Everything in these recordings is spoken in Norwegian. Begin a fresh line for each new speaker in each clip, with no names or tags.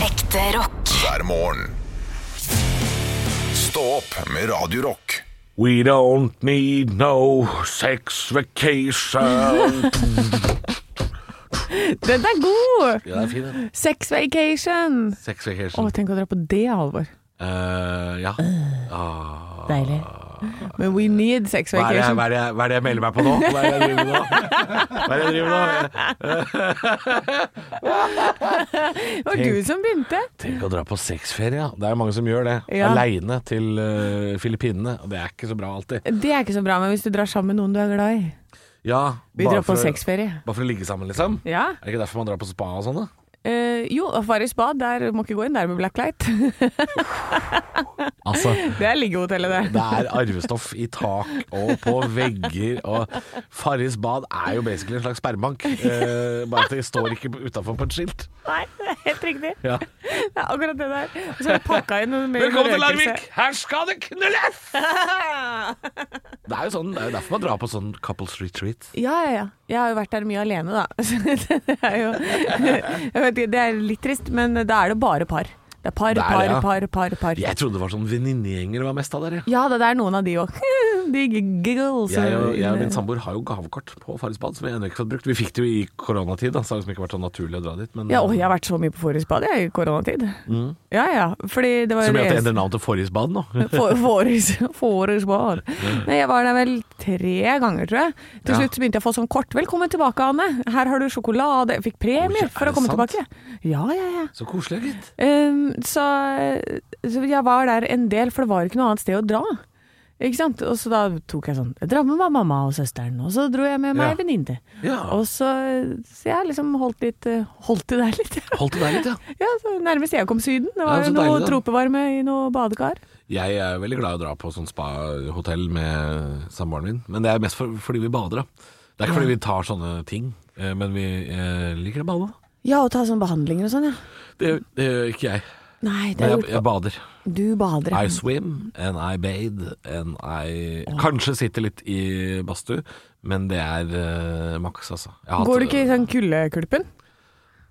Ekte rock.
hver morgen. Stå opp med Radio Rock.
We don't need no sex vacation.
Den er god!
ja, det er fin, den.
Sex vacation!
Sex
Å,
vacation.
tenk å dra på det, Halvor.
Eh, ja. Ah.
Deilig. Men we need sex
Hva er, det, jeg-
vacation.
hva, er det, jeg- hva er det jeg melder meg på nå? Hva er det jeg driver med nå? Hva er det jeg driver med nå?
Det var du som begynte.
Tenk å dra på sexferie, ja. Det er mange som gjør det.
Ja.
Aleine til eh, Filippinene. Og det er ikke så bra alltid.
Det er ikke så bra, men hvis du drar sammen med noen du er glad i
Ja,
Vi
bare
drar på
for-
sexferie.
Bare for å ligge sammen, liksom?
Ja.
Er det ikke derfor man drar på spa og sånn, da?
Eh, jo, Afari spa, der må ikke gå inn der med blacklight.
Altså,
Det er liggehotellet, det.
Det er arvestoff i tak og på vegger, og Farris bad er jo basically en slags sperrebank. Eh, bare at det står ikke utafor på et skilt.
Nei, det er helt riktig.
Ja.
Det er akkurat det der. Og så er det pakka inn med
Velkommen til
røkelse.
Larvik! Her skal det knulles! Det er jo sånn, det er jo derfor man drar på sånn couples retreat.
Ja, ja, ja. Jeg har jo vært der mye alene, da. Så det er jo jeg vet ikke, Det er litt trist, men da er det bare par. Det er par,
Det er
par,
det, ja.
par, par, par.
Jeg trodde det var sånn venninnegjenger det var mest av der. jeg.
Ja, det det er noen av de òg. De giggles.
Jeg og, jeg og min samboer har jo gavekort på Farris bad, som vi ennå ikke har fått brukt. Vi fikk det jo i koronatid, da, så det har liksom ikke vært så naturlig å dra dit. Men,
Ja, å, jeg har vært så mye på Forhusbadet jeg, i koronatid.
Mm.
Ja, ja. Fordi det var
så mye at det
eneste-
endrer navn til Farris bad nå.
For- Forhus, forhusbad. Nei, jeg var der vel tre ganger, tror jeg. Til
Ja.
slutt så begynte jeg å få sånn kort. 'Velkommen tilbake, Anne. Her har du sjokolade.' Jeg fikk
Oi, er
premie for å
det
komme
sant?
tilbake. Ja, ja, ja.
Så koselig, gitt.
Ehm, så, så jeg var der en del, for det var ikke noe annet sted å dra. Ikke sant? Og så da tok jeg sånn Jeg drar med meg mamma og søsteren, og så dro jeg med meg
Ja.
en venninne.
Ja.
Og så, så jeg liksom holdt litt eh, Holdt det der litt.
Holdt det der litt, ja.
ja, så nærmest jeg kom Syden. Det var
Ja, så
jo noe
deilig, da.
tropevarme i noe badekar.
Jeg er jo veldig glad i å dra på sånn spa-hotell med samboeren min, men det er mest for, fordi vi bader, da. Det er ikke fordi vi tar sånne ting, eh, men vi eh, liker å bade. da.
Ja, og ta sånne behandlinger og sånn, ja.
Det, det gjør ikke jeg.
Nei, det
Men
er
jeg,
gjort.
jeg bader.
Du bader.
I swim and I bathe and I Kanskje sitter litt i badstue, men det er eh, maks, altså. Jeg har hatt-
Går du ikke i sånn kuldekulpen?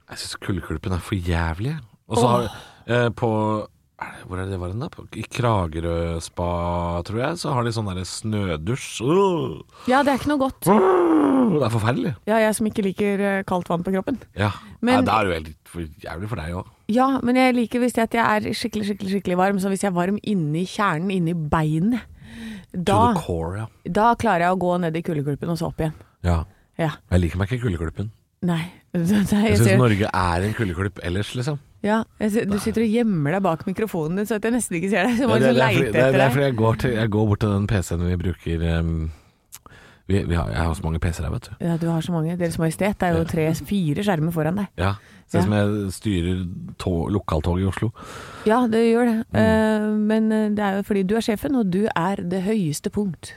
Jeg syns kulleklippen er for jævlig. Og så har eh, på er det- Hvor er det det var hen, da? På, I Kragerø spa, tror jeg, så har de sånn derre snødusj. Åh!
Ja, det er ikke noe godt.
Det er forferdelig.
Ja, jeg som ikke liker eh, kaldt vann på kroppen.
Ja.
Men-
Nei, det er jo helt for jævlig for deg òg.
Ja, men jeg liker hvis det at jeg er skikkelig, skikkelig, skikkelig varm. Så hvis jeg er varm inni kjernen, inni beinet,
To
da,
the core, ja.
da klarer jeg å gå ned i kuldekulpen og så opp igjen.
ja.
Ja.
Jeg liker meg ikke i kuldeklippen.
Nei. Nei, jeg
Jeg syns
ser,
Norge er en kuldeklipp ellers, liksom.
ja, jeg ser, du sitter og gjemmer deg bak mikrofonen din, så at jeg nesten ikke ser deg. Så jeg må
Det er,
liksom
det er, fordi,
leite
det er,
etter
det er
deg.
fordi jeg går, til, jeg går bort til den PC-en vi bruker ehm, vi, vi har, Jeg har så mange PC-er her, vet du.
Ja, du har så mange. Deres Majestet, det er jo tre-fire skjermer foran deg.
Ja. Ser ut
Ja.
som jeg styrer tog, lokaltoget i Oslo.
Ja, det gjør det.
Mm.
Eh, men eh, det er jo fordi du er sjefen, og du er det høyeste punkt.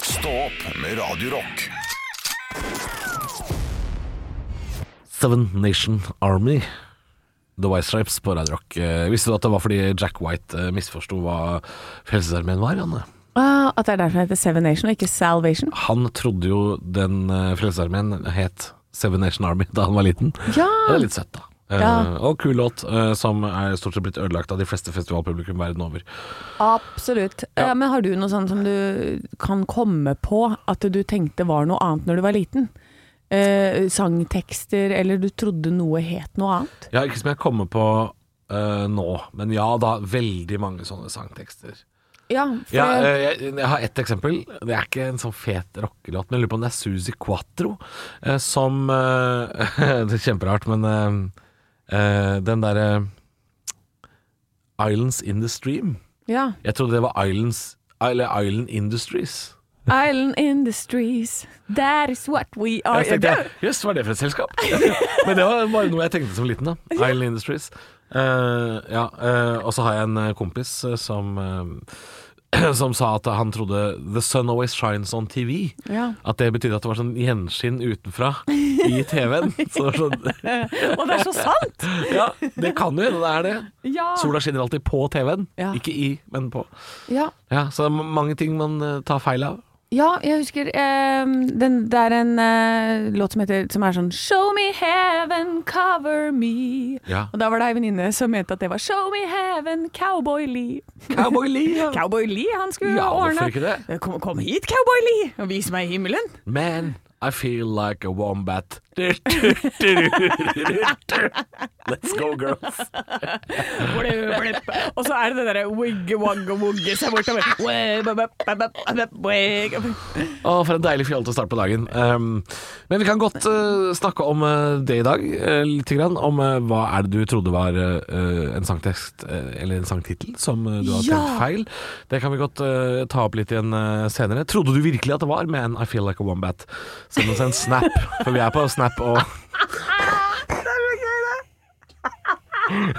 Stå opp med Radio Rock.
Seven Nation Army. The White Stripes på Radio Rock. Eh, visste du at det var fordi Jack White eh, misforsto hva Frelsesarmeen var? Janne?
Ah, at det er derfor det heter Seven Nation og ikke Salvation?
Han trodde jo den eh, Frelsesarmeen het Seven Nation Army da han var liten.
Ja!
Det er litt søtt, da. Eh,
Ja.
og kul låt, eh, som er stort sett blitt ødelagt av de fleste festivalpublikum verden over.
Absolutt.
Ja.
Eh, men har du noe sånt som du kan komme på at du tenkte var noe annet når du var liten? Eh, sangtekster, eller du trodde noe het noe annet?
Ja, ikke som jeg kommer på eh, nå, men ja da, veldig mange sånne sangtekster.
Ja, for
Ja, eh, jeg, jeg har ett eksempel. Det er ikke en sånn fet rockelåt, men jeg lurer på om det er Suzy Quatro eh, som eh, Det er kjemperart, men eh, eh, den derre Islands in the Stream.
ja.
Jeg trodde det var Islands Eller Island Industries.
Island Industries, that is what we are
Jeg tenkte, Jøss, hva er Ah, det for et selskap? Men det var bare noe jeg tenkte som liten, da. Island Industries. Eh, ja, eh, og så har jeg en eh, kompis eh, som eh, som sa at han trodde 'The sun always shines on TV'.
Ja.
At det betydde at det var sånn gjenskinn utenfra i TV-en. Så det var sånn,
Og det er så sant!
ja, det kan jo hende det er det.
Ja.
Sola skinner alltid på TV-en.
Ja.
Ikke i, men på.
ja.
Ja, så det er ma- mange ting man eh, tar feil av.
Ja, jeg husker eh, den, Det er en eh, låt som heter Som er sånn Show me heaven, cover me
Ja.
Og da var det ei venninne som mente at det var Show me heaven, Cowboy Lee
Cowboy Lee, ja.
Cowboy Lee, han skulle
Ja, hvorfor
ordne
ikke det?
Eh, Kom, kom hit, Cowboy Lee, og vis meg himmelen
Man, I feel like a wombat. Let's go, girls.
Blip, blip. Og så er det det derre wigge wagge wugge seg bortover Web, web, web, web, web.
Å, for en deilig fjolte å starte på dagen. Um, men vi kan godt eh, snakke om eh, det i dag, uh, lite grann. Om eh, hva er det du trodde var eh, en sangtekst, eh, eller en sangtittel, som eh, du har
Ja.
tenkt feil. Det kan vi godt eh, ta opp litt igjen eh, senere. Trodde du virkelig at det var Man, I feel like a wombat? Send oss en snap, for vi er på snap og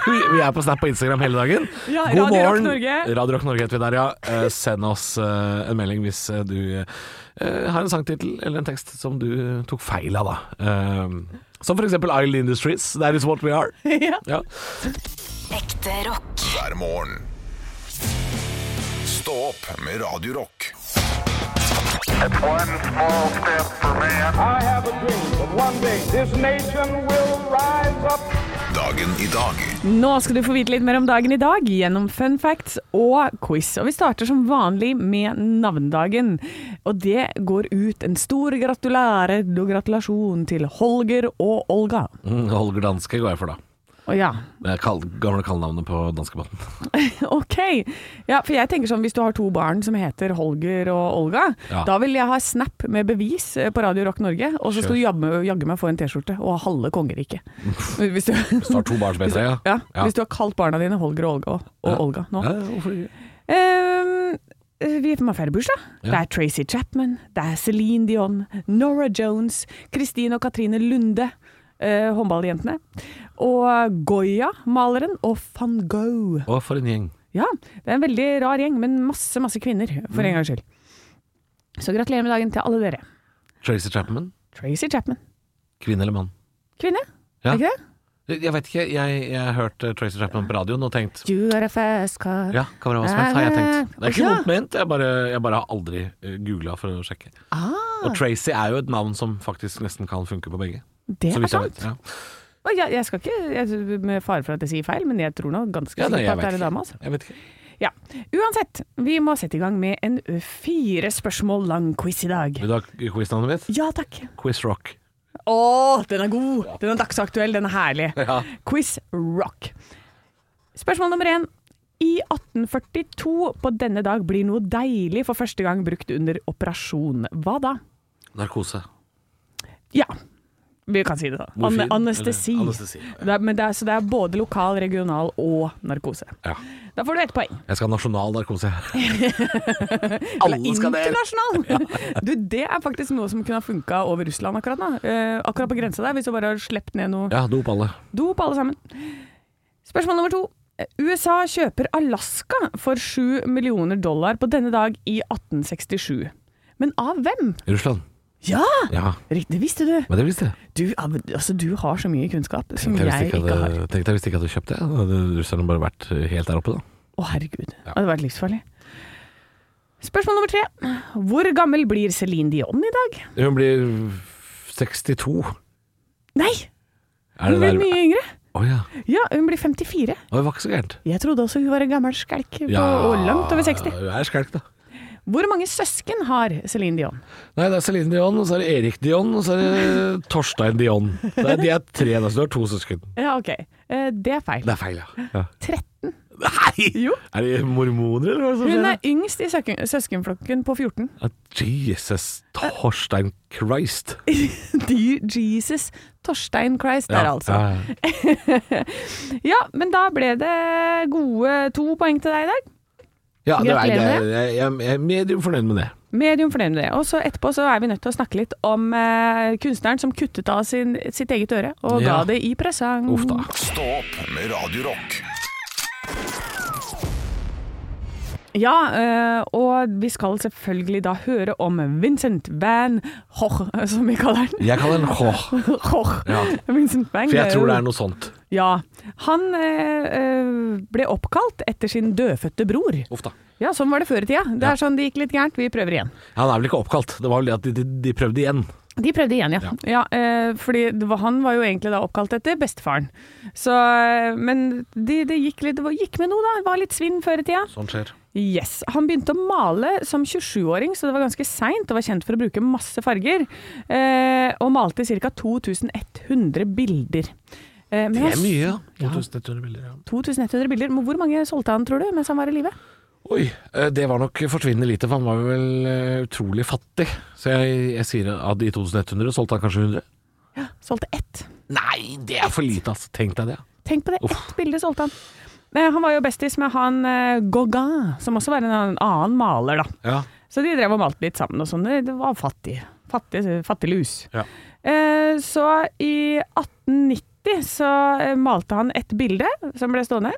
Vi vi er på Snap og Instagram hele dagen.
Ja, Radio Rock Norge.
Radio Rock Norge heter vi der, ja. Eh, send oss eh, en melding hvis eh, du eh, har en sangtittel eller en tekst som du tok feil av, da. Eh, som for eksempel Isle Industries. That is what we are.
Ja.
Ja.
Ekte rock.
hver morgen. Stå opp med Radio Rock.
One small step for man.
I have a dream that one day this nation will rise up.
Dagen i dag
Nå skal du få vite litt mer om dagen i dag gjennom fun facts og quiz. Og vi starter som vanlig med navnedagen. Og det går ut en stor gratulare og gratulasjon til Holger og Olga.
Mm, Holger Danske går jeg for, da.
Å ja,
Det er kall, gamle kallenavnet på danskebåten.
ok. Ja, for jeg tenker sånn hvis du har to barn som heter Holger og Olga,
Ja.
da vil jeg ha snap med bevis eh, på Radio Rock Norge, og så skal du jaggu- jaggu meg få en T-skjorte og halve kongeriket. Hvis du,
Så har to barn som heter det, Ja.
ja, hvis du har kalt barna dine Holger og Olga, og
Ja.
Olga nå.
Ja, hvorfor ikke?
Ehm, vi er på mange flere bursdag. Det er Tracy Chapman, det er Celine Dion, Nora Jones, Kristine og Katrine Lunde, eh, håndballjentene. Og Goya, maleren, og van Gogh.
Å, for en gjeng.
Ja, det er en veldig rar gjeng, men masse, masse kvinner, for
Mm.
en gangs skyld. Så gratulerer med dagen til alle dere.
Tracy Chapman.
Tracy Chapman.
Kvinne eller mann?
Kvinne,
Ja.
er ikke det?
Jeg vet ikke, jeg, jeg har hørt eh, Tracy Chapman på radioen og tenkt
You are a fast car.
Ja, kamera var smelt, har jeg tenkt. Det er ikke
Ja.
vondt ment, jeg bare, jeg bare har aldri googla for å sjekke.
Ah,
Og Tracy er jo et navn som faktisk nesten kan funke på begge.
det
så
er
vidt jeg
sant.
vet. Ja.
Og Jeg, jeg skal ikke, jeg, med fare for at jeg sier feil, men jeg tror nå ganske
Ja, nei,
sikkert
jeg
at det
vet
er en
ikke.
dame. Altså.
Jeg vet ikke.
Ja, uansett, vi må sette i gang med en fire spørsmål lang quiz i dag.
Vil du ha quiznavnet mitt?
Ja takk.
Quiz Rock.
Å, den er god! Den er dagsaktuell, den er herlig.
Ja.
Quiz rock. Spørsmål nummer én. I 1842 på denne dag blir noe deilig for første gang brukt under operasjon. Hva da?
Narkose.
Ja, vi kan si det da. An
Morfin,
anestesi.
eller anestesi,
Det er, men det er, så det er både lokal, regional og narkose.
Ja.
Da får du ett poeng.
Jeg skal ha nasjonal narkose.
Eller internasjonal! Du, det er faktisk noe som kunne ha funka over Russland akkurat nå. Eh, akkurat på grensa der, hvis du bare har sluppet ned noe
Ja, dop alle.
dop, alle sammen. Spørsmål nummer to. Eh, USA kjøper Alaska for 7 millioner dollar på denne dag i 1867. Men av hvem?
Russland.
Ja!
Ja,
Riktig, visste du.
men det visste jeg.
Du, ja, men, altså, du har så mye kunnskap som
Tenkte jeg
jeg
hvis ikke
ikke har.
hadde, tenkte jeg hvis ikke hadde kjøpt det. Da hadde russerne bare vært eh, helt der oppe, da.
Å, herregud. Det hadde vært livsfarlig. Spørsmål nummer tre. Hvor gammel blir Celine Dion i dag?
Hun blir 62.
Nei,
Er
hun
det
blir
der
mye yngre.
Å ja.
Ja, hun blir 54.
Å, det var ikke så gærent.
Jeg trodde også hun var en gammel skalk på,
Ja,
og langt over 60.
Hun er skjelk, da.
Hvor mange søsken har Celine Dion?
Nei, det er Celine Dion, og så er det Erik Dion, og så er det Torstein Dion. Det er, de er tre, da, så du har to søsken.
Ja, ok. Eh, Det er feil.
Det er feil, ja.
13.
Nei!
Jo.
Er de mormoner, eller hva er det som
Hun
skjer?
er yngst i søken, søskenflokken på 14.
Ah, Jesus Torstein Christ.
Dear Jesus Torstein Christ der, altså.
Ja, ja.
Ja, men da ble det gode to poeng til deg i dag.
ja det er, det
Gratulerer
er, jeg, jeg er medium fornøyd med det.
Medium fornøyd med det. Og så etterpå så er vi nødt til å snakke litt om eh, kunstneren som kuttet av sin, sitt eget øre og ga
Ja.
det i presang.
Uff da.
Stå opp med Radio Rock
Ja, eh, og vi skal selvfølgelig da høre om Vincent van Gogh, eh, som vi kaller den.
Jeg kaller den H,
Gogh.
Ja.
Vincent van
for jeg tror det
jo-
er noe sånt.
Ja. Han eh, eh, ble oppkalt etter sin dødfødte bror.
Uff da.
Ja, sånn var det før i tida. Det
Ja.
er sånn det gikk litt gærent. Vi prøver igjen.
Ja, Han er vel ikke oppkalt. Det var vel det at de, de, de prøvde igjen.
De prøvde igjen, ja.
Ja.
ja. eh, fordi det var, han var jo egentlig da oppkalt etter bestefaren. Så, eh, men det de gikk, litt- det var- gikk med noe, da. Det var litt svinn før i tida.
Sånn skjer.
Yes. Han begynte å male som 27-åring, så det var ganske seint, og var kjent for å bruke masse farger. Eh, og malte ca. 2100 bilder. Eh, men
Det er
han-
mye, ja.
Ja.
2100 bilder, ja.
2100 bilder. Men Hvor mange solgte han, tror du, mens han var i live?
Oi, eh, det var nok forsvinnende lite, for han var vel eh, utrolig fattig. Så jeg, jeg sier at i 2100 solgte han kanskje 100.
Solgte ett.
Nei, det er for lite, altså. Tenk deg det.
Tenk på det,
Uff.
ett bilde solgte han. Eh, Han var jo bestis med han eh, Gauguin, som også var en annen maler, da.
Ja.
Så de drev og malte litt sammen og sånn. Det- Det var fattig. Fattig, fattig lus.
Ja.
Eh, så i 1890 så eh, malte han et bilde som ble stående,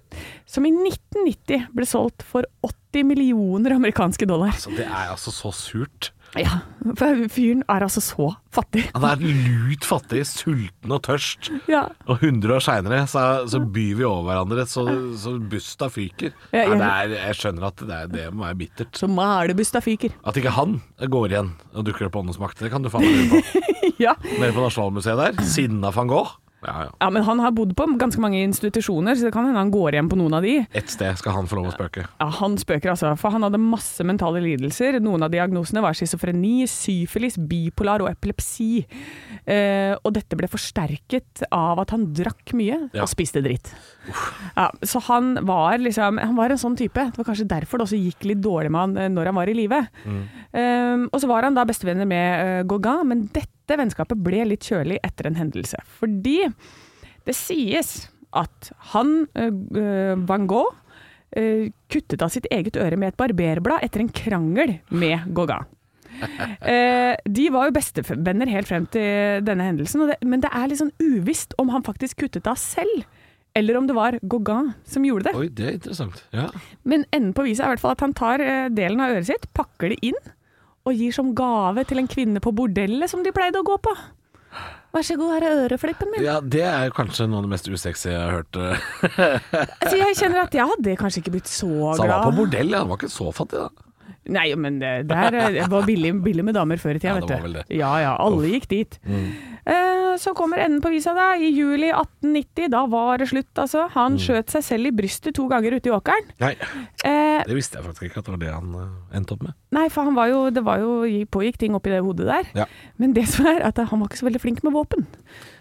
som i 1990 ble solgt for 80 millioner amerikanske dollar.
Så det er altså så surt.
Ja, for fyren er altså så fattig.
Han er lut fattig, sulten og tørst.
Ja.
Og 100 år seinere så, så byr vi over hverandre så, så busta fyker.
Ja,
Nei,
ja.
det er, jeg skjønner at det, er, det må være bittert.
Så malebusta fyker.
At ikke han går igjen og dukker opp på Åndens makt, det kan du faen meg lure på.
Ja.
Nede på Nasjonalmuseet der. Sinna van Gogh. Ja, ja.
Ja, men han har bodd på ganske mange institusjoner, så det kan hende han går hjem på noen av de.
Ett sted skal han få lov å spøke.
Ja, han spøker altså, for han hadde masse mentale lidelser. Noen av diagnosene var schizofreni, syfilis, bipolar og epilepsi. Eh, og dette ble forsterket av at han drakk mye
Ja.
og spiste dritt. Ja, så han var liksom Han var en sånn type. Det var kanskje derfor det også gikk litt dårlig med han eh, når han var i live. Eh, og så var han da bestevenner med eh, Gauguin, men dette vennskapet ble litt kjølig etter en hendelse. Fordi det sies at han, eh, eh, Van Gogh, eh, kuttet av sitt eget øre med et barberblad etter en krangel med Gauguin. Eh, de var jo bestevenner helt frem til denne hendelsen, og det, men det er litt sånn uvisst om han faktisk kuttet av selv, eller om det var Gauguin som gjorde det.
Oi, det er interessant. Ja.
Men enden på viset er i hvert fall at han tar eh, delen av øret sitt, pakker det inn, og gir som gave til en kvinne på bordellet som de pleide å gå på. Vær så god, her er øreflippen min.
ja, det er kanskje noe av det mest usexy jeg har hørt. eh.
Altså, jeg kjenner at jeg hadde kanskje ikke blitt så glad.
Så han var på bordell, ja. Han var ikke så fattig, da.
Nei, men det der eh, var billig, billig med damer før i tida,
Ja,
vet
det
du.
var vel det. Mm.
Ja ja, alle gikk dit. Eh, så kommer enden på visa, da. I juli 1890, da var det slutt, altså. Han
Mm.
skjøt seg selv i brystet to ganger ute i åkeren.
Nei,
Eh,
det visste jeg faktisk ikke at det var det han eh, endte opp med.
nei, for han var jo, det var jo, pågikk ting oppi det hodet der.
Ja.
Men det som er at han var ikke så veldig flink med våpen.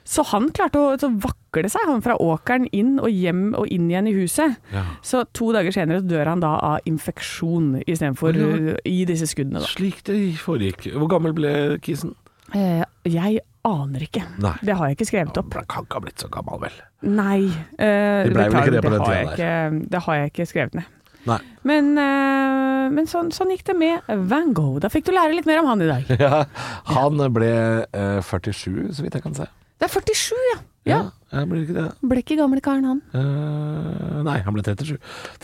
Så han klarte å så vakle seg, han fra åkeren inn og hjem og inn igjen i huset.
Ja.
Så to dager senere så dør han da av infeksjon istedenfor uh, i disse skuddene, da.
Slik det foregikk. Hvor gammel ble kisen?
Eh, jeg aner ikke.
Nei.
Det har jeg ikke skrevet opp.
Han kan ikke ha blitt så gammel, vel.
Nei. eh,
Det ble vel
beklager,
ikke det på den
har
tiden
jeg ikke- Det har jeg ikke skrevet ned.
Nei.
Men, eh, men sånn, sånn gikk det med Van Gogh. Da fikk du lære litt mer om han i dag.
Ja, han ble eh, 47, så vidt jeg kan se.
Det er 47, ja!
Ja, jeg blir ikke det.
Ble ikke gamle karen, han.
Eh, nei, han ble 37.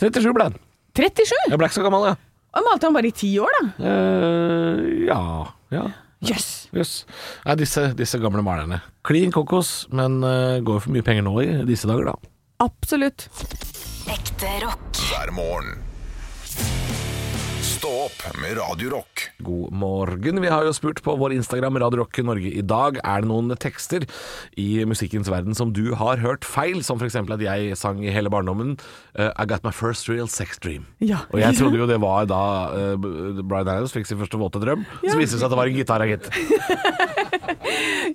37 ble han.
37!
Jeg ble ikke så gammel, jeg.
Og malte han bare i ti år, da.
Eh, ja. ja.
Jøss!
Jøss. Nei, disse, disse gamle malerne. Klin kokos, men eh, går for mye penger nå i disse dager, da.
Absolutt.
Ekte rock.
hver morgen. Stå opp med Radio Rock.
God morgen. Vi har jo spurt på vår Instagram Radio Rock Norge i dag er det noen tekster i musikkens verden som du har hørt feil, som f.eks. at jeg sang i hele barndommen eh, I got my first real sex dream.
Ja.
Og jeg trodde jo det var da eh, Bryan Adams fikk sin første våte drøm. Så viste det seg at det var en gitar, gitt.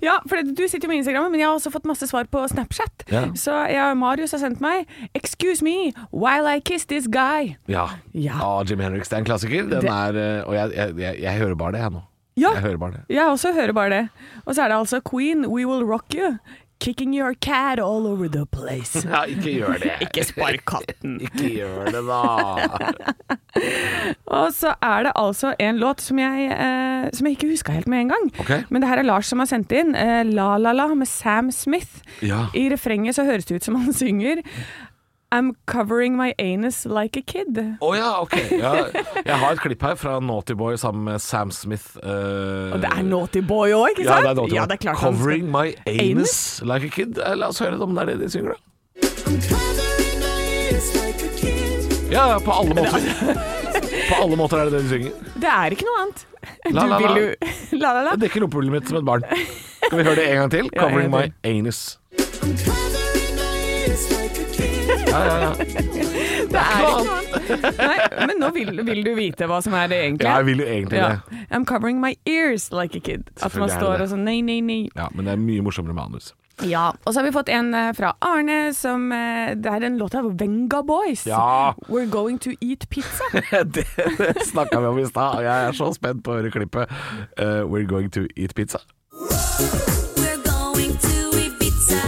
Ja, for du sitter jo med Instagram, men jeg har også fått masse svar på Snapchat.
Ja.
Så jeg, Marius har sendt meg 'Excuse me while I kiss this guy'.
Ja.
Ja.
Ah, Jimmy Henriks, det er en klassiker. Den
Det-
er, eh, og jeg, jeg, jeg, jeg hører bare det, jeg nå.
Ja.
Jeg hører bare det.
Jeg også hører bare det. Og så er det altså Queen, We Will Rock You. Kicking your cat all over the place.
Ja, ikke gjør det.
Ikke spark katten.
Ikke gjør det, da.
Og så er det altså en låt som jeg, eh, som jeg ikke huska helt med en gang.
Ok.
Men det her er Lars som har sendt inn. Eh, La La La med Sam Smith.
Ja.
I refrenget så høres det ut som han synger I'm covering my anus like a kid.
Å ja, ok. Ja, jeg har et klipp her fra Naughty Boy sammen med Sam Smith. eh,
Og det er Naughty Boy òg, ikke
ja,
sant?
det er Naughty Boy.
Ja, det er klart han skal-
Covering my anus, like a kid. Eh, La oss høre om det er det de synger, da.
I'm covering my ears like a kid.
Ja, ja, på alle måter. På alle måter er det det de synger.
Det er ikke noe annet.
La, la, la.
Du vil jo La, la, la.
Jeg dekker rumpehullet mitt som et barn. Skal vi høre det en gang til?
Ja, en
'Covering
gang
My Anus'.
til.
I'm covering my ears like a kid.
Ja, ja, ja.
Det er ikke noe annet. Nei, men nå vil, vil du vite hva som er det egentlig.
ja jeg vil jo egentlig
Ja.
det.
I'm covering my ears like a kid. At man
Selvfølgelig er det
står
det.
og sånn nei, nei, nei.
Ja, Men det er mye morsommere manus.
Ja. Og så har vi fått en eh, fra Arne som eh, Det er en låt av Venga Boys.
Ja.
We're going to eat pizza.
Det snakka vi om i stad, og jeg er så spent på å høre klippet. Eh, we're going to eat pizza.
We're going to Ibiza.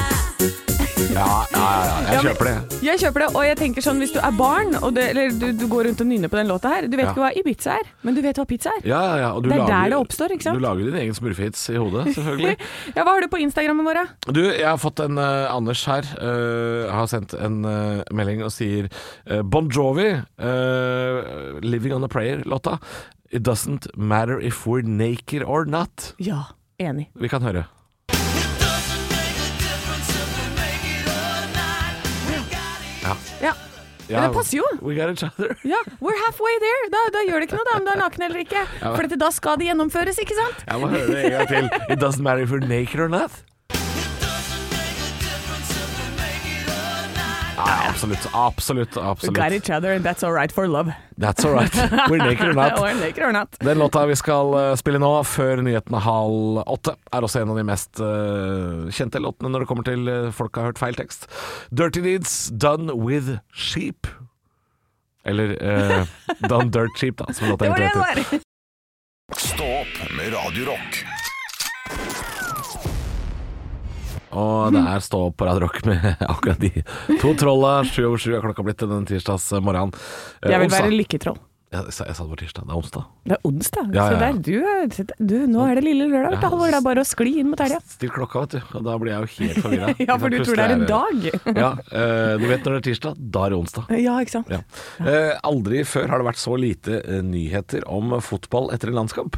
Ja, ja, ja, ja. jeg
Ja, men-
kjøper det.
Jeg kjøper det, og jeg tenker sånn hvis du er barn, og du, eller du, du går rundt og nynner på den låta her Du vet
Ja.
ikke hva Ibiza er, men du vet hva pizza er.
Ja, ja, ja. Og du
Det er
lager-
der det oppstår, ikke sant?
Du lager din egen smurfehits i hodet, selvfølgelig.
Ja, Hva har du på Instagrammen vår? da?
Du, jeg har fått en eh, Anders her eh, Har sendt en eh, melding og sier eh, Bon Jovi eh, Living on a Prayer-låta It doesn't matter if we're naked or not
Ja, enig.
Vi kan høre
Ja.
Ja,
det passer jo.
We got each other
ja, We're halfway there. Da, da gjør det ikke noe da, om du er naken eller ikke.
men-
For dette, da skal det gjennomføres, ikke sant?
Jeg må høre det en gang til It doesn't matter if we're naked or not Ja, absolutt, absolutt,
We got
absolutt
each other, and that's all right for love.
That's alright, we're naked or not
Or naked or not.
Den låta vi skal eh, spille nå, før nyhetene halv åtte, er også en av de mest eh, kjente låtene når det kommer til eh, folk har hørt feil tekst. Dirty Deeds Done With Sheep. Eller eh, Done Dirt Sheep, da, som låta
Det var det
egentlig
det
heter.
var.
Stå opp med Radio Rock.
Og det er stå opp på Radio Rock med akkurat de to trolla. Sju over sju er klokka blitt den tirsdags morgenen. Eh,
Jeg vil
onsdag.
være lykketroll.
Ja, jeg, sa- jeg sa det var tirsdag, det er onsdag.
Det er onsdag.
Ja, ja, ja.
Så der, du, er- du, nå er det lille lørdag, vet du,
Ja.
Halvor. Det er bare å skli inn mot helga.
Still klokka, vet du. Og da blir jeg jo helt forvirra.
Ja, for du tror det er en dag.
Ja, eh, du vet når det er tirsdag, da er det onsdag.
Ja, ikke sant.
Ja. Eh, aldri før har det vært så lite eh, nyheter om fotball etter en landskamp.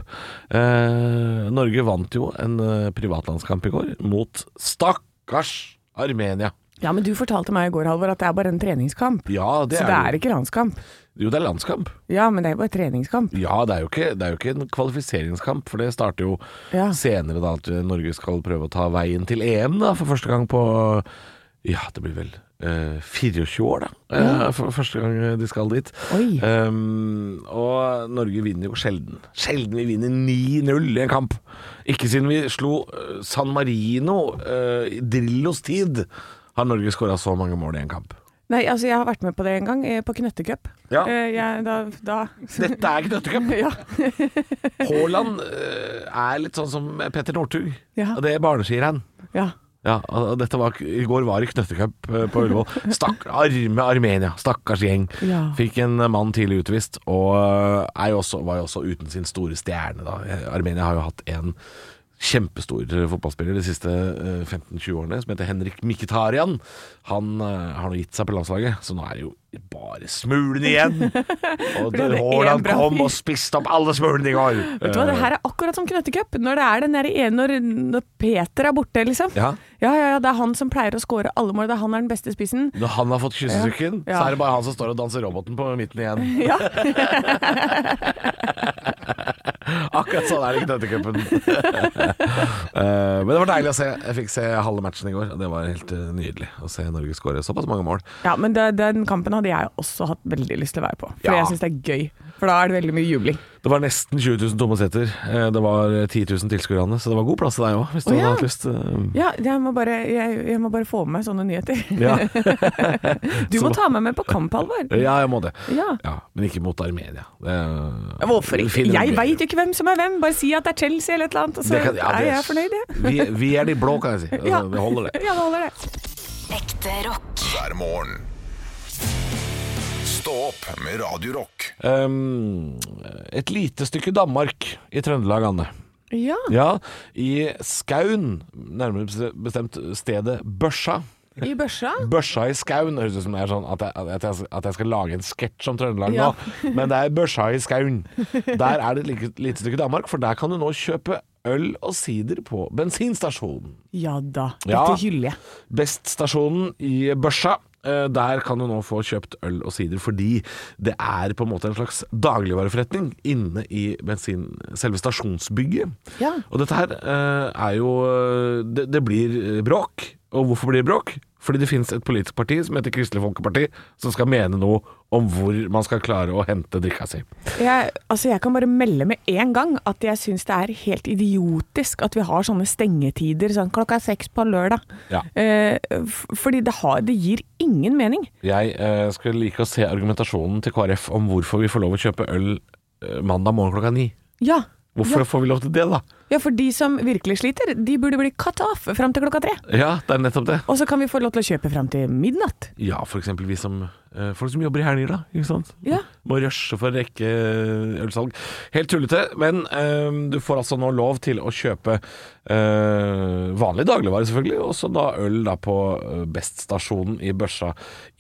Eh, Norge vant jo en eh, privatlandskamp i går mot stakkars Armenia.
Ja, men du fortalte meg i går, Halvor, at det er bare en treningskamp.
Ja, det
Så
er,
det er
jo-
ikke landskamp.
Jo, det er landskamp.
Ja, men det er bare treningskamp.
Ja, det er, jo ikke, det er jo ikke en kvalifiseringskamp, for det starter jo
Ja.
senere da at eh, Norge skal prøve å ta veien til EM da, for første gang på Ja, det blir vel eh, 24 år, da. eh, for første gang de skal dit.
Oi.
Um, og Norge vinner jo sjelden. Sjelden vi vinner 9-0 i en kamp. Ikke siden vi slo eh, San Marino eh, i Drillos tid, har Norge skåra så mange mål i en kamp.
Nei, altså jeg har vært med på det en gang, eh, på knøttecup.
Ja.
Eh, jeg- da, da
Dette er knøttecup!
Ja.
Haaland eh, er litt sånn som Petter Northug.
Ja.
Og det barneskier han.
ja.
Ja, og dette var, I går var det knøttecup eh, på Ullevål. Stakk, arme Armenia, stakkars gjeng.
Ja.
Fikk en mann tidlig utvist, og eh, er jo også, var jo også uten sin store stjerne. Da. Eh, Armenia har jo hatt en kjempestor fotballspiller de siste eh, 15-20 årene, som heter Henrik Mkhitarian. Han eh, har nå gitt seg på landslaget, så nå er det jo bare smulene igjen. Og
det er en
Haaland
bra
kom
fyr.
og spiste opp alle smulene i går.
Vet du hva, det
Eh.
her er akkurat som knøttecup. Når det er den der ene når, når Peter er borte, liksom.
Ja.
ja, ja, ja, Det er han som pleier å score alle mål. Det er han er den beste spissen.
Eh, Når han har fått kyssesyken,
Ja.
så er det bare han som står og danser roboten på midten igjen.
Ja.
Akkurat sånn er det i knøttecupen. Eh, men det var deilig å se. Jeg fikk se halve matchen i går, og det var helt eh, nydelig å se Norge skåre såpass mange mål.
ja, men det, den kampen hadde jeg også hatt veldig lyst til å være på. For
Ja.
jeg syns det er gøy. For da er det veldig mye jubling.
Det var nesten 20 000 tomme seter. Eh, det var 10 000 tilskuere, Anne, så det var god plass til deg òg, hvis du
Å, ja.
hadde hatt lyst. Eh,
Ja, jeg må bare, jeg, jeg må bare få med meg sånne nyheter.
ja.
Du må ta meg med på kamp, Halvor.
ja, jeg må det.
Ja.
Ja, men ikke mot Armenia. Det,
Ja, Hvorfor ikke?
finner
Jeg
noe
veit
bedre.
jo ikke hvem som er hvem. Bare si at det er Chelsea eller et eller annet, og så
Det kan- ja,
er
det-
jeg fornøyd, jeg.
Vi, vi er de blå, kan jeg si. Altså,
Ja.
Det holder, det.
Ja, det holder, det.
Ekte rock.
hver morgen. Stå opp med Radio Rock.
Um, et lite stykke Danmark i Trøndelag, Anne.
Ja.
Ja, i Skaun, nærmere bestemt stedet Børsa.
I børsa?
Børsa i Skaun høres ut som det er sånn at jeg, at jeg, at jeg skal lage en sketsj om Trøndelag
Ja.
nå, men det er Børsa i Skaun. Der er det et like- lite stykke Danmark, for der kan du nå kjøpe øl og sider på bensinstasjonen.
Ja da.
Ja.
Dette hyller jeg.
Beststasjonen i Børsa Eh, Der kan du nå få kjøpt øl og sider, fordi det er på en måte en slags dagligvareforretning inne i bensin, selve stasjonsbygget.
Ja.
Og dette her eh, er jo eh, det, det blir eh, bråk. Og hvorfor blir det bråk? Fordi det finnes et politisk parti som heter Kristelig Folkeparti, som skal mene noe om hvor man skal klare å hente drikka si.
Jeg, altså jeg kan bare melde med en gang at jeg syns det er helt idiotisk at vi har sånne stengetider sånn klokka seks på lørdag.
Ja.
Eh, f- fordi det, har, det gir ingen mening.
Jeg eh, skulle like å se argumentasjonen til KrF om hvorfor vi får lov å kjøpe øl eh, mandag morgen klokka ni.
Ja.
Hvorfor
Ja.
får vi lov til det, da?
ja, for de som virkelig sliter, de burde bli cut off fram til klokka tre.
Ja, det er nettopp det.
Og så kan vi få lov til å kjøpe fram til midnatt.
Ja, for eksempel vi som eh, folk som jobber i helger, da. Ikke sant?
Ja.
Må rushe for å rekke eh, ølsalg. Helt tullete, men eh, du får altså nå lov til å kjøpe eh, vanlige dagligvarer, selvfølgelig, og så da øl da på eh, Best-stasjonen i Børsa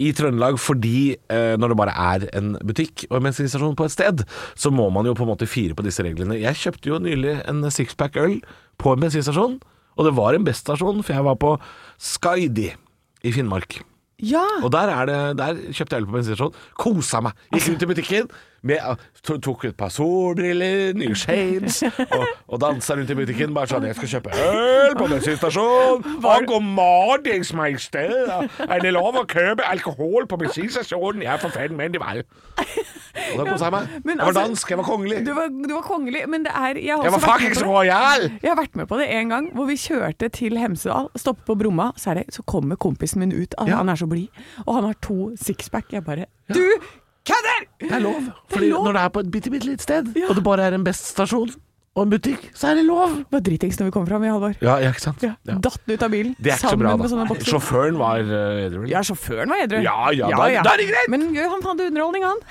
i Trøndelag, fordi eh, når det bare er en butikk og en bensinstasjon på et sted, så må man jo på en måte fire på disse reglene. Jeg kjøpte jo nylig en sixpack øl på en bensinstasjon, og det var en Best-stasjon, for jeg var på Skaidi i Finnmark.
Ja.
Og der, er det, der kjøpte jeg øl på bensinstasjonen. Kosa meg. Gikk rundt i butikken. Med, to, tok et par solbriller, nye shades, og, og dansa rundt i butikken. Bare sånn 'Jeg skal kjøpe øl på bensinstasjonen'. Og god morgen, smeisted. Er det lov å kjøpe alkohol på bensinstasjonen? Jeg er for fan men det var jo Og da kosa jeg meg.
Men
Jeg var
altså-
dansk, jeg var kongelig.
Du var, du var kongelig, men det er Jeg har
Jeg var
også vært med
fuckings
på det.
royal!
Jeg har vært med på det en gang, hvor vi kjørte til Hemsedal, stoppet på Bromma, så, er det, så kommer kompisen min ut, Altså,
Ja.
han er så blid, og han har to sixpack. Jeg bare Du kødder!
Det er lov.
er
Fordi
lov.
når det er på et bitte, bitte lite sted,
Ja.
og det bare er en beststasjon og en butikk, så er det lov.
Det var dritings når vi kom fram, i Halvor.
Ja, ja ikke sant?
Ja.
Ja.
Datt den ut av bilen,
Det er ikke så
sammen
bra,
med sånne
da.
bokser.
Sjåføren var eh, edru, vel?
Ja, sjåføren var edru.
Ja, ja, da- da er det greit!
Men jo, han fant underholdning, han.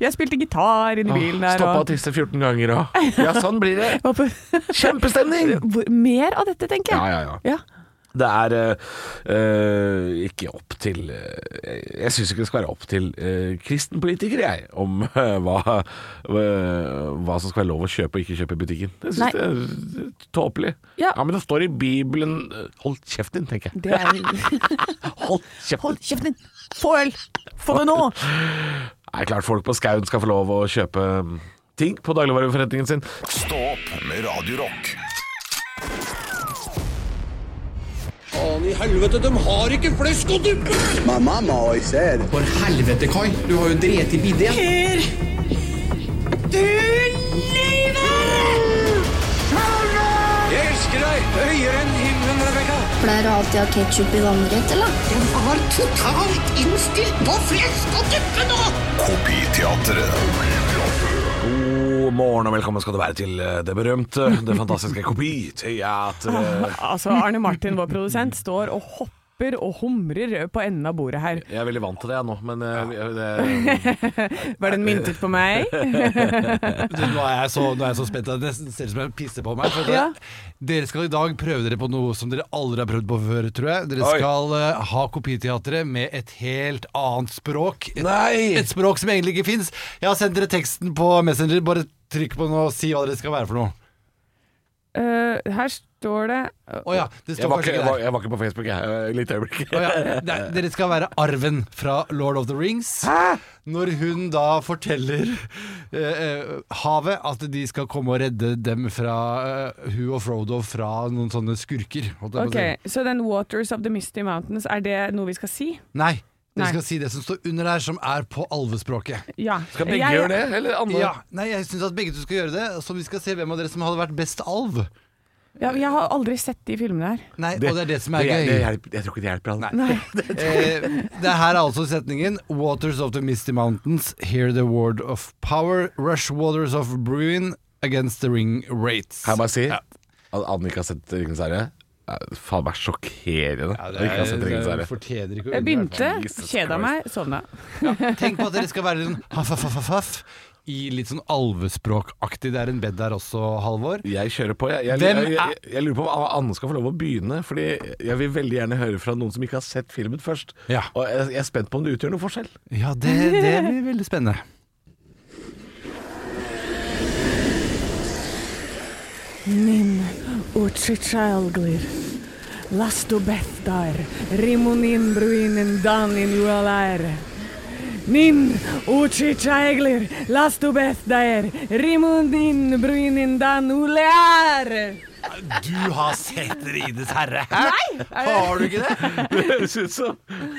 jeg spilte gitar inni bilen der.
Stoppa å
og-
tisse 14 ganger og Ja, sånn blir det.
Var på-
Kjempestemning!
Hvor, mer av dette, tenker jeg.
Ja, ja, ja.
Ja.
Det er eh, eh, ikke opp til eh, Jeg syns ikke det skal være opp til eh, kristenpolitikere, jeg, om eh, hva, eh, hva som skal være lov å kjøpe og ikke kjøpe i butikken. Jeg
Nei.
syns det er eh, tåpelig.
Ja.
men det står i Bibelen eh, Hold kjeften din, tenker jeg.
Det er,
Hold kjeften.
hold kjeften din! Få øl! Få det nå!
Det er klart folk på Skaun skal få lov å kjøpe mm, ting på dagligvareforretningen sin.
Stå opp med Radio Rock.
Faen i helvete, de har ikke flesk og duppe!
My mama always said,
For helvete, Kai. Du har jo drept i biddet. Jeg elsker deg høyere enn himmelen, Rebekka.
Pleier du alltid å ha ketsjup i vannrett, eller?
De var totalt innstilt på flesk og duppe nå!
Kopiteatret.
God morgen og velkommen skal du være til eh, det berømte, det fantastiske kopiteatret.
Altså, Arne Martin, vår produsent, står og hopper og humrer på enden av bordet her.
Jeg er veldig vant til det jeg nå, men eh, jeg- jeg-
Var den myntet på meg?
Nå er jeg så, nå er jeg så spent at det nesten ser ut som jeg pisser på meg. For at
Ja.
Dere skal i dag prøve dere på noe som dere aldri har prøvd på før, tror jeg. Dere
Oi.
skal eh, ha kopiteatret med et helt annet språk. Et,
Nei!
et språk som egentlig ikke fins. Jeg har sendt dere teksten på Messenger. Bare trykk på den og si hva dere skal være for noe.
Eh, her står det
Å ja, det
jeg
står
var,
kanskje
ikke, jeg,
ikke
var,
der.
jeg var ikke på Facebook, jeg. eh, Litt øyeblikk.
Å ja, det er- dere skal være arven fra Lord of the Rings. Når hun da forteller eh, eh, havet at de skal komme og redde dem fra eh, Hun og Frodo fra noen sånne skurker. holdt jeg på å
Ok,
si.
så den Waters of the Misty Mountains, er det noe vi skal si?
Nei.
Nei.
Dere skal si det som står under der, som er på alvespråket.
Ja.
Skal begge
Jeg-
gjøre det, eller andre?
Ja, nei, Jeg syns at begge to skal gjøre det, så vi skal se hvem av dere som hadde vært best alv.
Ja, jeg har aldri sett de filmene her.
Nei, Og det er det som er
det,
gøy.
det hjelper, jeg tror ikke det hjelper han.
Nei.
Eh, det her er altså setningen Waters of the Misty Mountains Hear the word of power Rush waters of Bruin Against the ring rates
Kan jeg bare si at Anne ikke har sett Ringens herre? Eh, Faen, det er sjokkerende.
Ja,
at
det
jeg ikke har sett Ringens herre.
fortjener ikke å
Jeg
undervurdere.
begynte,
Jesus
kjeda
Christ.
meg, sovna.
Tenk på at dere skal være litt sånn haff, haff, haff, haff, haff I litt sånn alvespråkaktig Det er en bed der også, Halvor
Jeg kjører på. Jeg, jeg,
Hvem
jeg, jeg,
er-
jeg lurer på hva Anne skal få lov å begynne. Fordi jeg vil veldig gjerne høre fra noen som ikke har sett filmen først.
Ja.
Og jeg, jeg er spent på om det utgjør noen forskjell.
Ja, det, det blir veldig spennende
Nim uchichaldlir, Lastobeftar, Rimonin bruinen danin ualair. Nin uchichaglir, Lastobeftar, Rimonin bruinen dan ulear.
Du har sett Ridenes herre! Nei! Har du ikke det?
Det høres ut som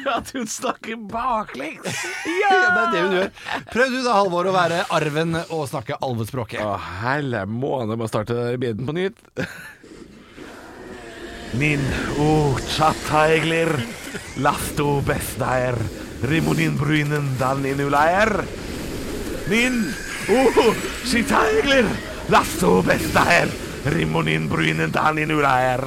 at hun snakker baklengs.
Ja! Det er det hun gjør. Prøv du da, Halvor, å være arven og snakke alvespråket.
Å, helle måne, må starte bjeden på nytt. Nin uchattaeglir lafto bestdaer rimonin bruinen dan inuleier. Nin uchattaeglir lafto bestdaer rimonin bruinen dan inuleier.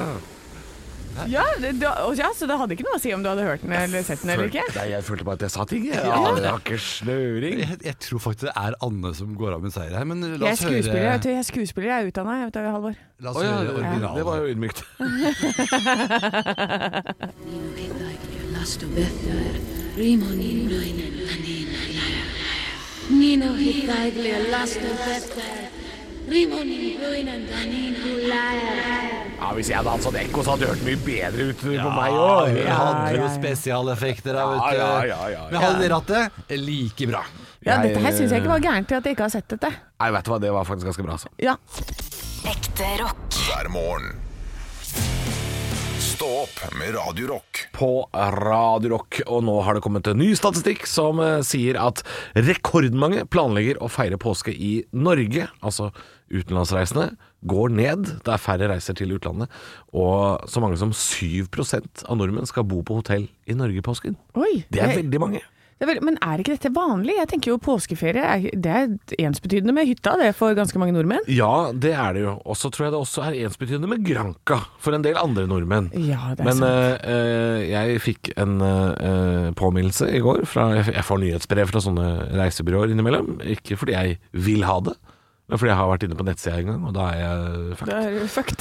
Ja, det, det, og ja, så det hadde ikke noe å si om du hadde hørt den eller sett den eller ikke?
Nei, jeg følte bare at jeg sa ting. Jeg hadde ikke snøring.
Jeg, jeg tror faktisk det er Anne som går av med seier her, men la
Jeg er
oss høre,
skuespiller, vet du. Jeg er skuespiller, jeg er utdanna, jeg vet du, Halvor.
la oss
Å ja,
høre originalen.
det var jo ydmykt.
Nino Hitagli, Lasto Bester, Rimoni Bruinen, Danino Leier.
Ja, Hvis jeg hadde hatt sånn ekko, så hadde det hørt mye bedre ut på meg
Ja,
òg.
hun hadde jo spesialeffekter da, vet du.
Ja, ja, ja, ja, ja.
Men hadde de rattet? Like bra.
Ja, dette her syns jeg ikke var gærent til at jeg ikke har sett dette.
Nei, vet du hva, det var faktisk ganske bra. Altså.
Ja.
Ekte rock.
hver morgen. Stå opp med Radio Rock.
På Radio Rock, og nå har det kommet en ny statistikk som eh, sier at rekordmange planlegger å feire påske i Norge. Altså utenlandsreisende går ned. Det er færre reiser til utlandet. Og så mange som 7 av nordmenn skal bo på hotell i Norge i påsken.
Oi.
Det er
jeg-
veldig mange.
Det er vel, men er ikke dette vanlig? Jeg tenker jo påskeferie er, det er ensbetydende med hytta, det for ganske mange nordmenn.
Ja, det er det jo. Og så tror jeg det også er ensbetydende med Granca for en del andre nordmenn.
Ja, det er
Men
sant.
eh, eh, jeg fikk en eh, eh, påminnelse i går. Fra, jeg f- jeg får nyhetsbrev fra sånne reisebyråer innimellom. Ikke fordi jeg vil ha det, men fordi jeg har vært inne på nettsida en gang, og da er jeg fucked.
Det er jo fucked.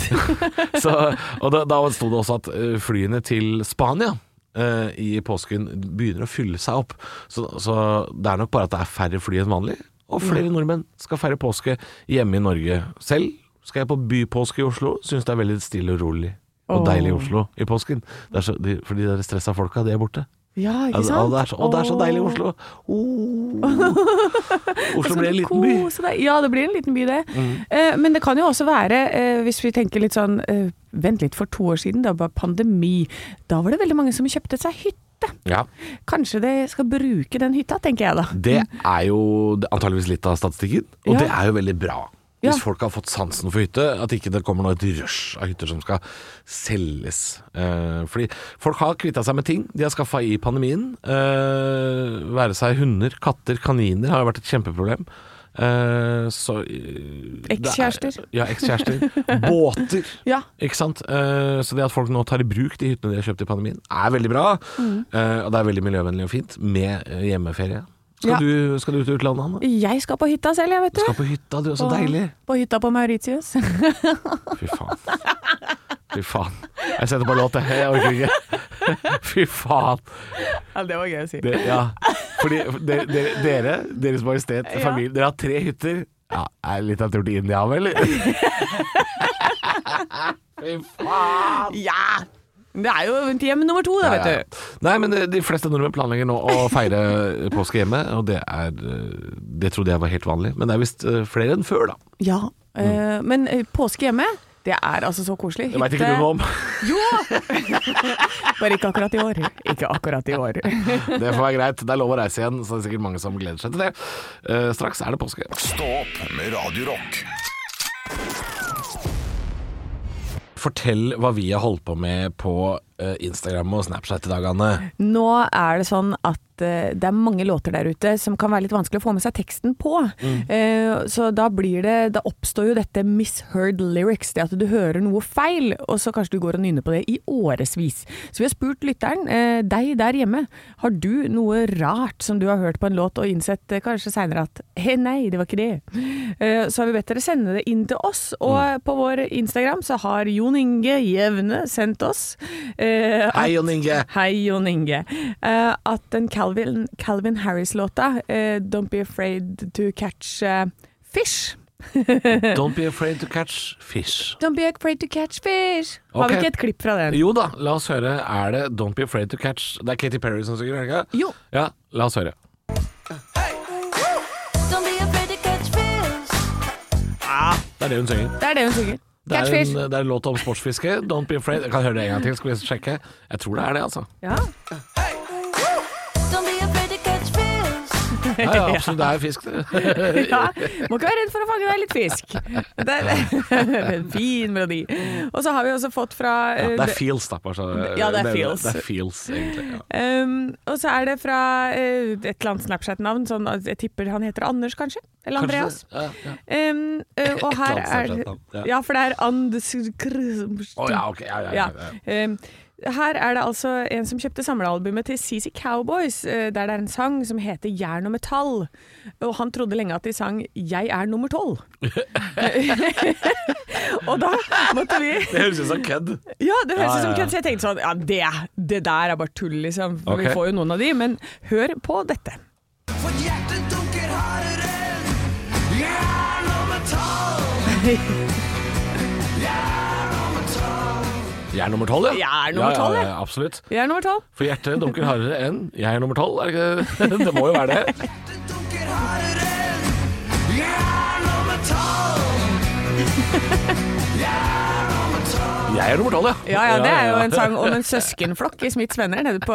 Altså, Så, og da, da sto det også at eh, flyene til Spania eh, i påsken begynner å fylle seg opp. Så, så det er nok bare at det er færre fly enn vanlig. Og
Mm.
flere nordmenn skal feire påske hjemme i Norge. Selv skal jeg på bypåske i Oslo. Syns det er veldig stille og rolig og
Åh.
deilig i Oslo i påsken. Det er så, de, for de der stressa folka, de er borte.
ja, ikke
Altså,
sant?
og, det er så, og det er så deilig i
Åh.
Oslo. Åh.
Så
Oslo
skal
blir en
du
liten by. Mm.
kose deg. Ja, det blir en liten by, det. Eh, men det kan jo også være, eh, hvis vi tenker litt sånn eh, Vent litt, for to år siden, da var pandemi. Da var det veldig mange som kjøpte seg hytte.
Ja,
Kanskje de skal bruke den hytta, tenker jeg da.
Det er jo antageligvis litt av statistikken, og
Ja.
det er jo veldig bra. Hvis
Ja.
folk har fått sansen for hytte, at ikke det kommer nå et rush av hytter som skal selges. Eh, fordi folk har kvitta seg med ting de har skaffa i pandemien. Eh, være seg hunder, katter, kaniner har jo vært et kjempeproblem. Eh, så eh, det er-
Ekskjærester.
Ja, ekskjærester. Båter.
Ja.
Ikke sant? Eh, Så det at folk nå tar i bruk de hyttene de har kjøpt i pandemien, er veldig bra.
Mm.
Eh, Og det er veldig miljøvennlig og fint med eh, hjemmeferie. Skal,
Ja.
du, skal du ut i utlandet, Anne?
Jeg skal på hytta selv, jeg, vet
Du
du.
skal på hytta, du. er Så
På-
deilig.
På hytta på Mauritius.
Fy faen. Fy faen. Jeg setter på låt, jeg. Jeg orker ikke. Fy faen.
ja, det var gøy å si.
Det, ja. Fordi de- de- dere, Deres Majestet,
Ja.
familien, dere har tre hytter. Ja, er det litt av en tur til India, vel? Fy faen.
Ja! Det er jo hjem nummer to, da,
Ja,
vet
ja,
du.
ja. Nei, men eh, de fleste nordmenn planlegger nå å feire eh, påske hjemme, og det er eh, Det trodde jeg var helt vanlig, men det er visst eh, flere enn før, da.
Ja, eh, men eh, påske hjemme, det er altså så koselig.
Det veit ikke du noe om.
Jo! Bare ikke akkurat i år. Ikke akkurat i år.
Det får være greit. Det er lov å reise igjen, så det er sikkert mange som gleder seg til det. Eh, Straks er det påske.
Stå opp med Radio Rock.
Fortell hva vi har holdt på med på eh, Instagram og Snapchat i dag, Anne.
Nå er det sånn at eh, det er mange låter der ute som kan være litt vanskelig å få med seg teksten på. Eh, så da blir det Da oppstår jo dette misheard lyrics, det at du hører noe feil, og så kanskje du går og nynner på det i årevis. Så vi har spurt lytteren, eh, deg der hjemme, har du noe rart som du har hørt på en låt og innsett eh, kanskje seinere at he, nei, det var ikke det. Eh, så har vi bedt dere sende det inn til oss, og på vår Instagram så har Jon Inge Jevne sendt oss. eh,
Hei, Jon Inge.
Hei, Jon Inge. Eh, at den Calvin, Calvin Harris-låta, eh, 'Don't Be Afraid To Catch eh, Fish',
Don't be afraid to catch fish.
Don't be afraid to catch fish. Har vi
Ok.
ikke et klipp fra den?
Jo da, la oss høre. Er det Don't be afraid to catch Det er Katy Perry som synger, er det ikke?
Jo.
Ja, la oss høre.
Don't be afraid to catch fish.
Ah, Det er det hun synger.
Det er det hun synger.
Det
Catch
er, en, eh,
fish.
det er en låt om sportsfiske. Don't be afraid. Jeg kan høre det en gang til, skal vi sjekke. Jeg tror det er det, altså.
Ja.
Don't be afraid to catch fish.
Ja, ja, absolutt. Det er fisk, det.
ja. Må ikke være redd for å fange deg litt fisk. Det er en fin melodi. Og så har vi også fått fra eh,
Det er feels, da. Bare. så-
Ja, det er feels.
Det er feels, egentlig. Ja.
Um, og så er det fra eh, et eller annet Snapchat-navn. Sånn, at jeg tipper han heter Anders, kanskje? Eller Andreas.
Kanskje det- Ja, ja.
Um, eh, og
Et eller
her er
annet
det
Snapchat-navn, ja.
Ja, for det er Anders
Å, ja, ok. Ja, ja, ja, ja.
Ja. Um, her er det altså en som kjøpte samlealbumet til CC Cowboys, eh, der det er en sang som heter Jern og metall. Og han trodde lenge at de sang 'Jeg er nummer tolv'. og da måtte vi
Det høres ut som kødd.
ja, det
Ja,
høres ut som
ja, ja.
kødd, så jeg tenkte sånn Ja, det, det der er bare tull, liksom. For
Ok.
Vi får jo noen av de, men hør på dette.
Jeg er nummer tolv, ja.
Jeg er nummer tolv,
ja,
ja.
ja, ja. Absolutt.
Vi er nummer tolv.
For hjertet dunker hardere enn jeg er nummer tolv, er det ikke det? Det må jo være det. Jeg er nummer tolv, ja.
Ja ja, det er jo
ja.
en sang om en søskenflokk i Smiths venner nede på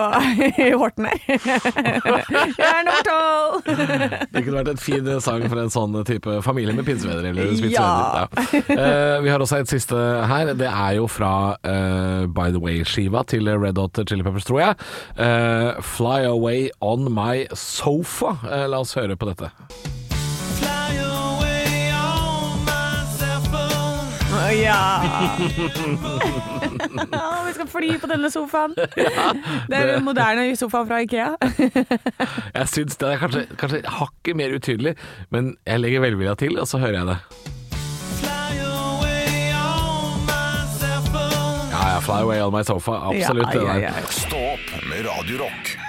i Horten her. Jeg er nummer tolv!
Det kunne vært en fin sang for en sånn type familie med pinsevenner eller
Ja.
spitsvenner. Ja. Eh, vi har også et siste her. Det er jo fra eh, By The Way-skiva til Red Hot Chili Peppers, tror jeg. Eh, Fly Away On My Sofa. Eh, la oss høre på dette.
Å, Ja. Å, Vi skal fly på denne sofaen. Det er den moderne sofaen fra Ikea.
Jeg syns det er kanskje, kanskje hakket mer utydelig, men jeg legger velvilja til, og så hører jeg det. Ja, ja, Fly Away On My Sofa. Absolutt.
Ja,
det
ja,
der.
ja.
Stå opp med Radio Rock.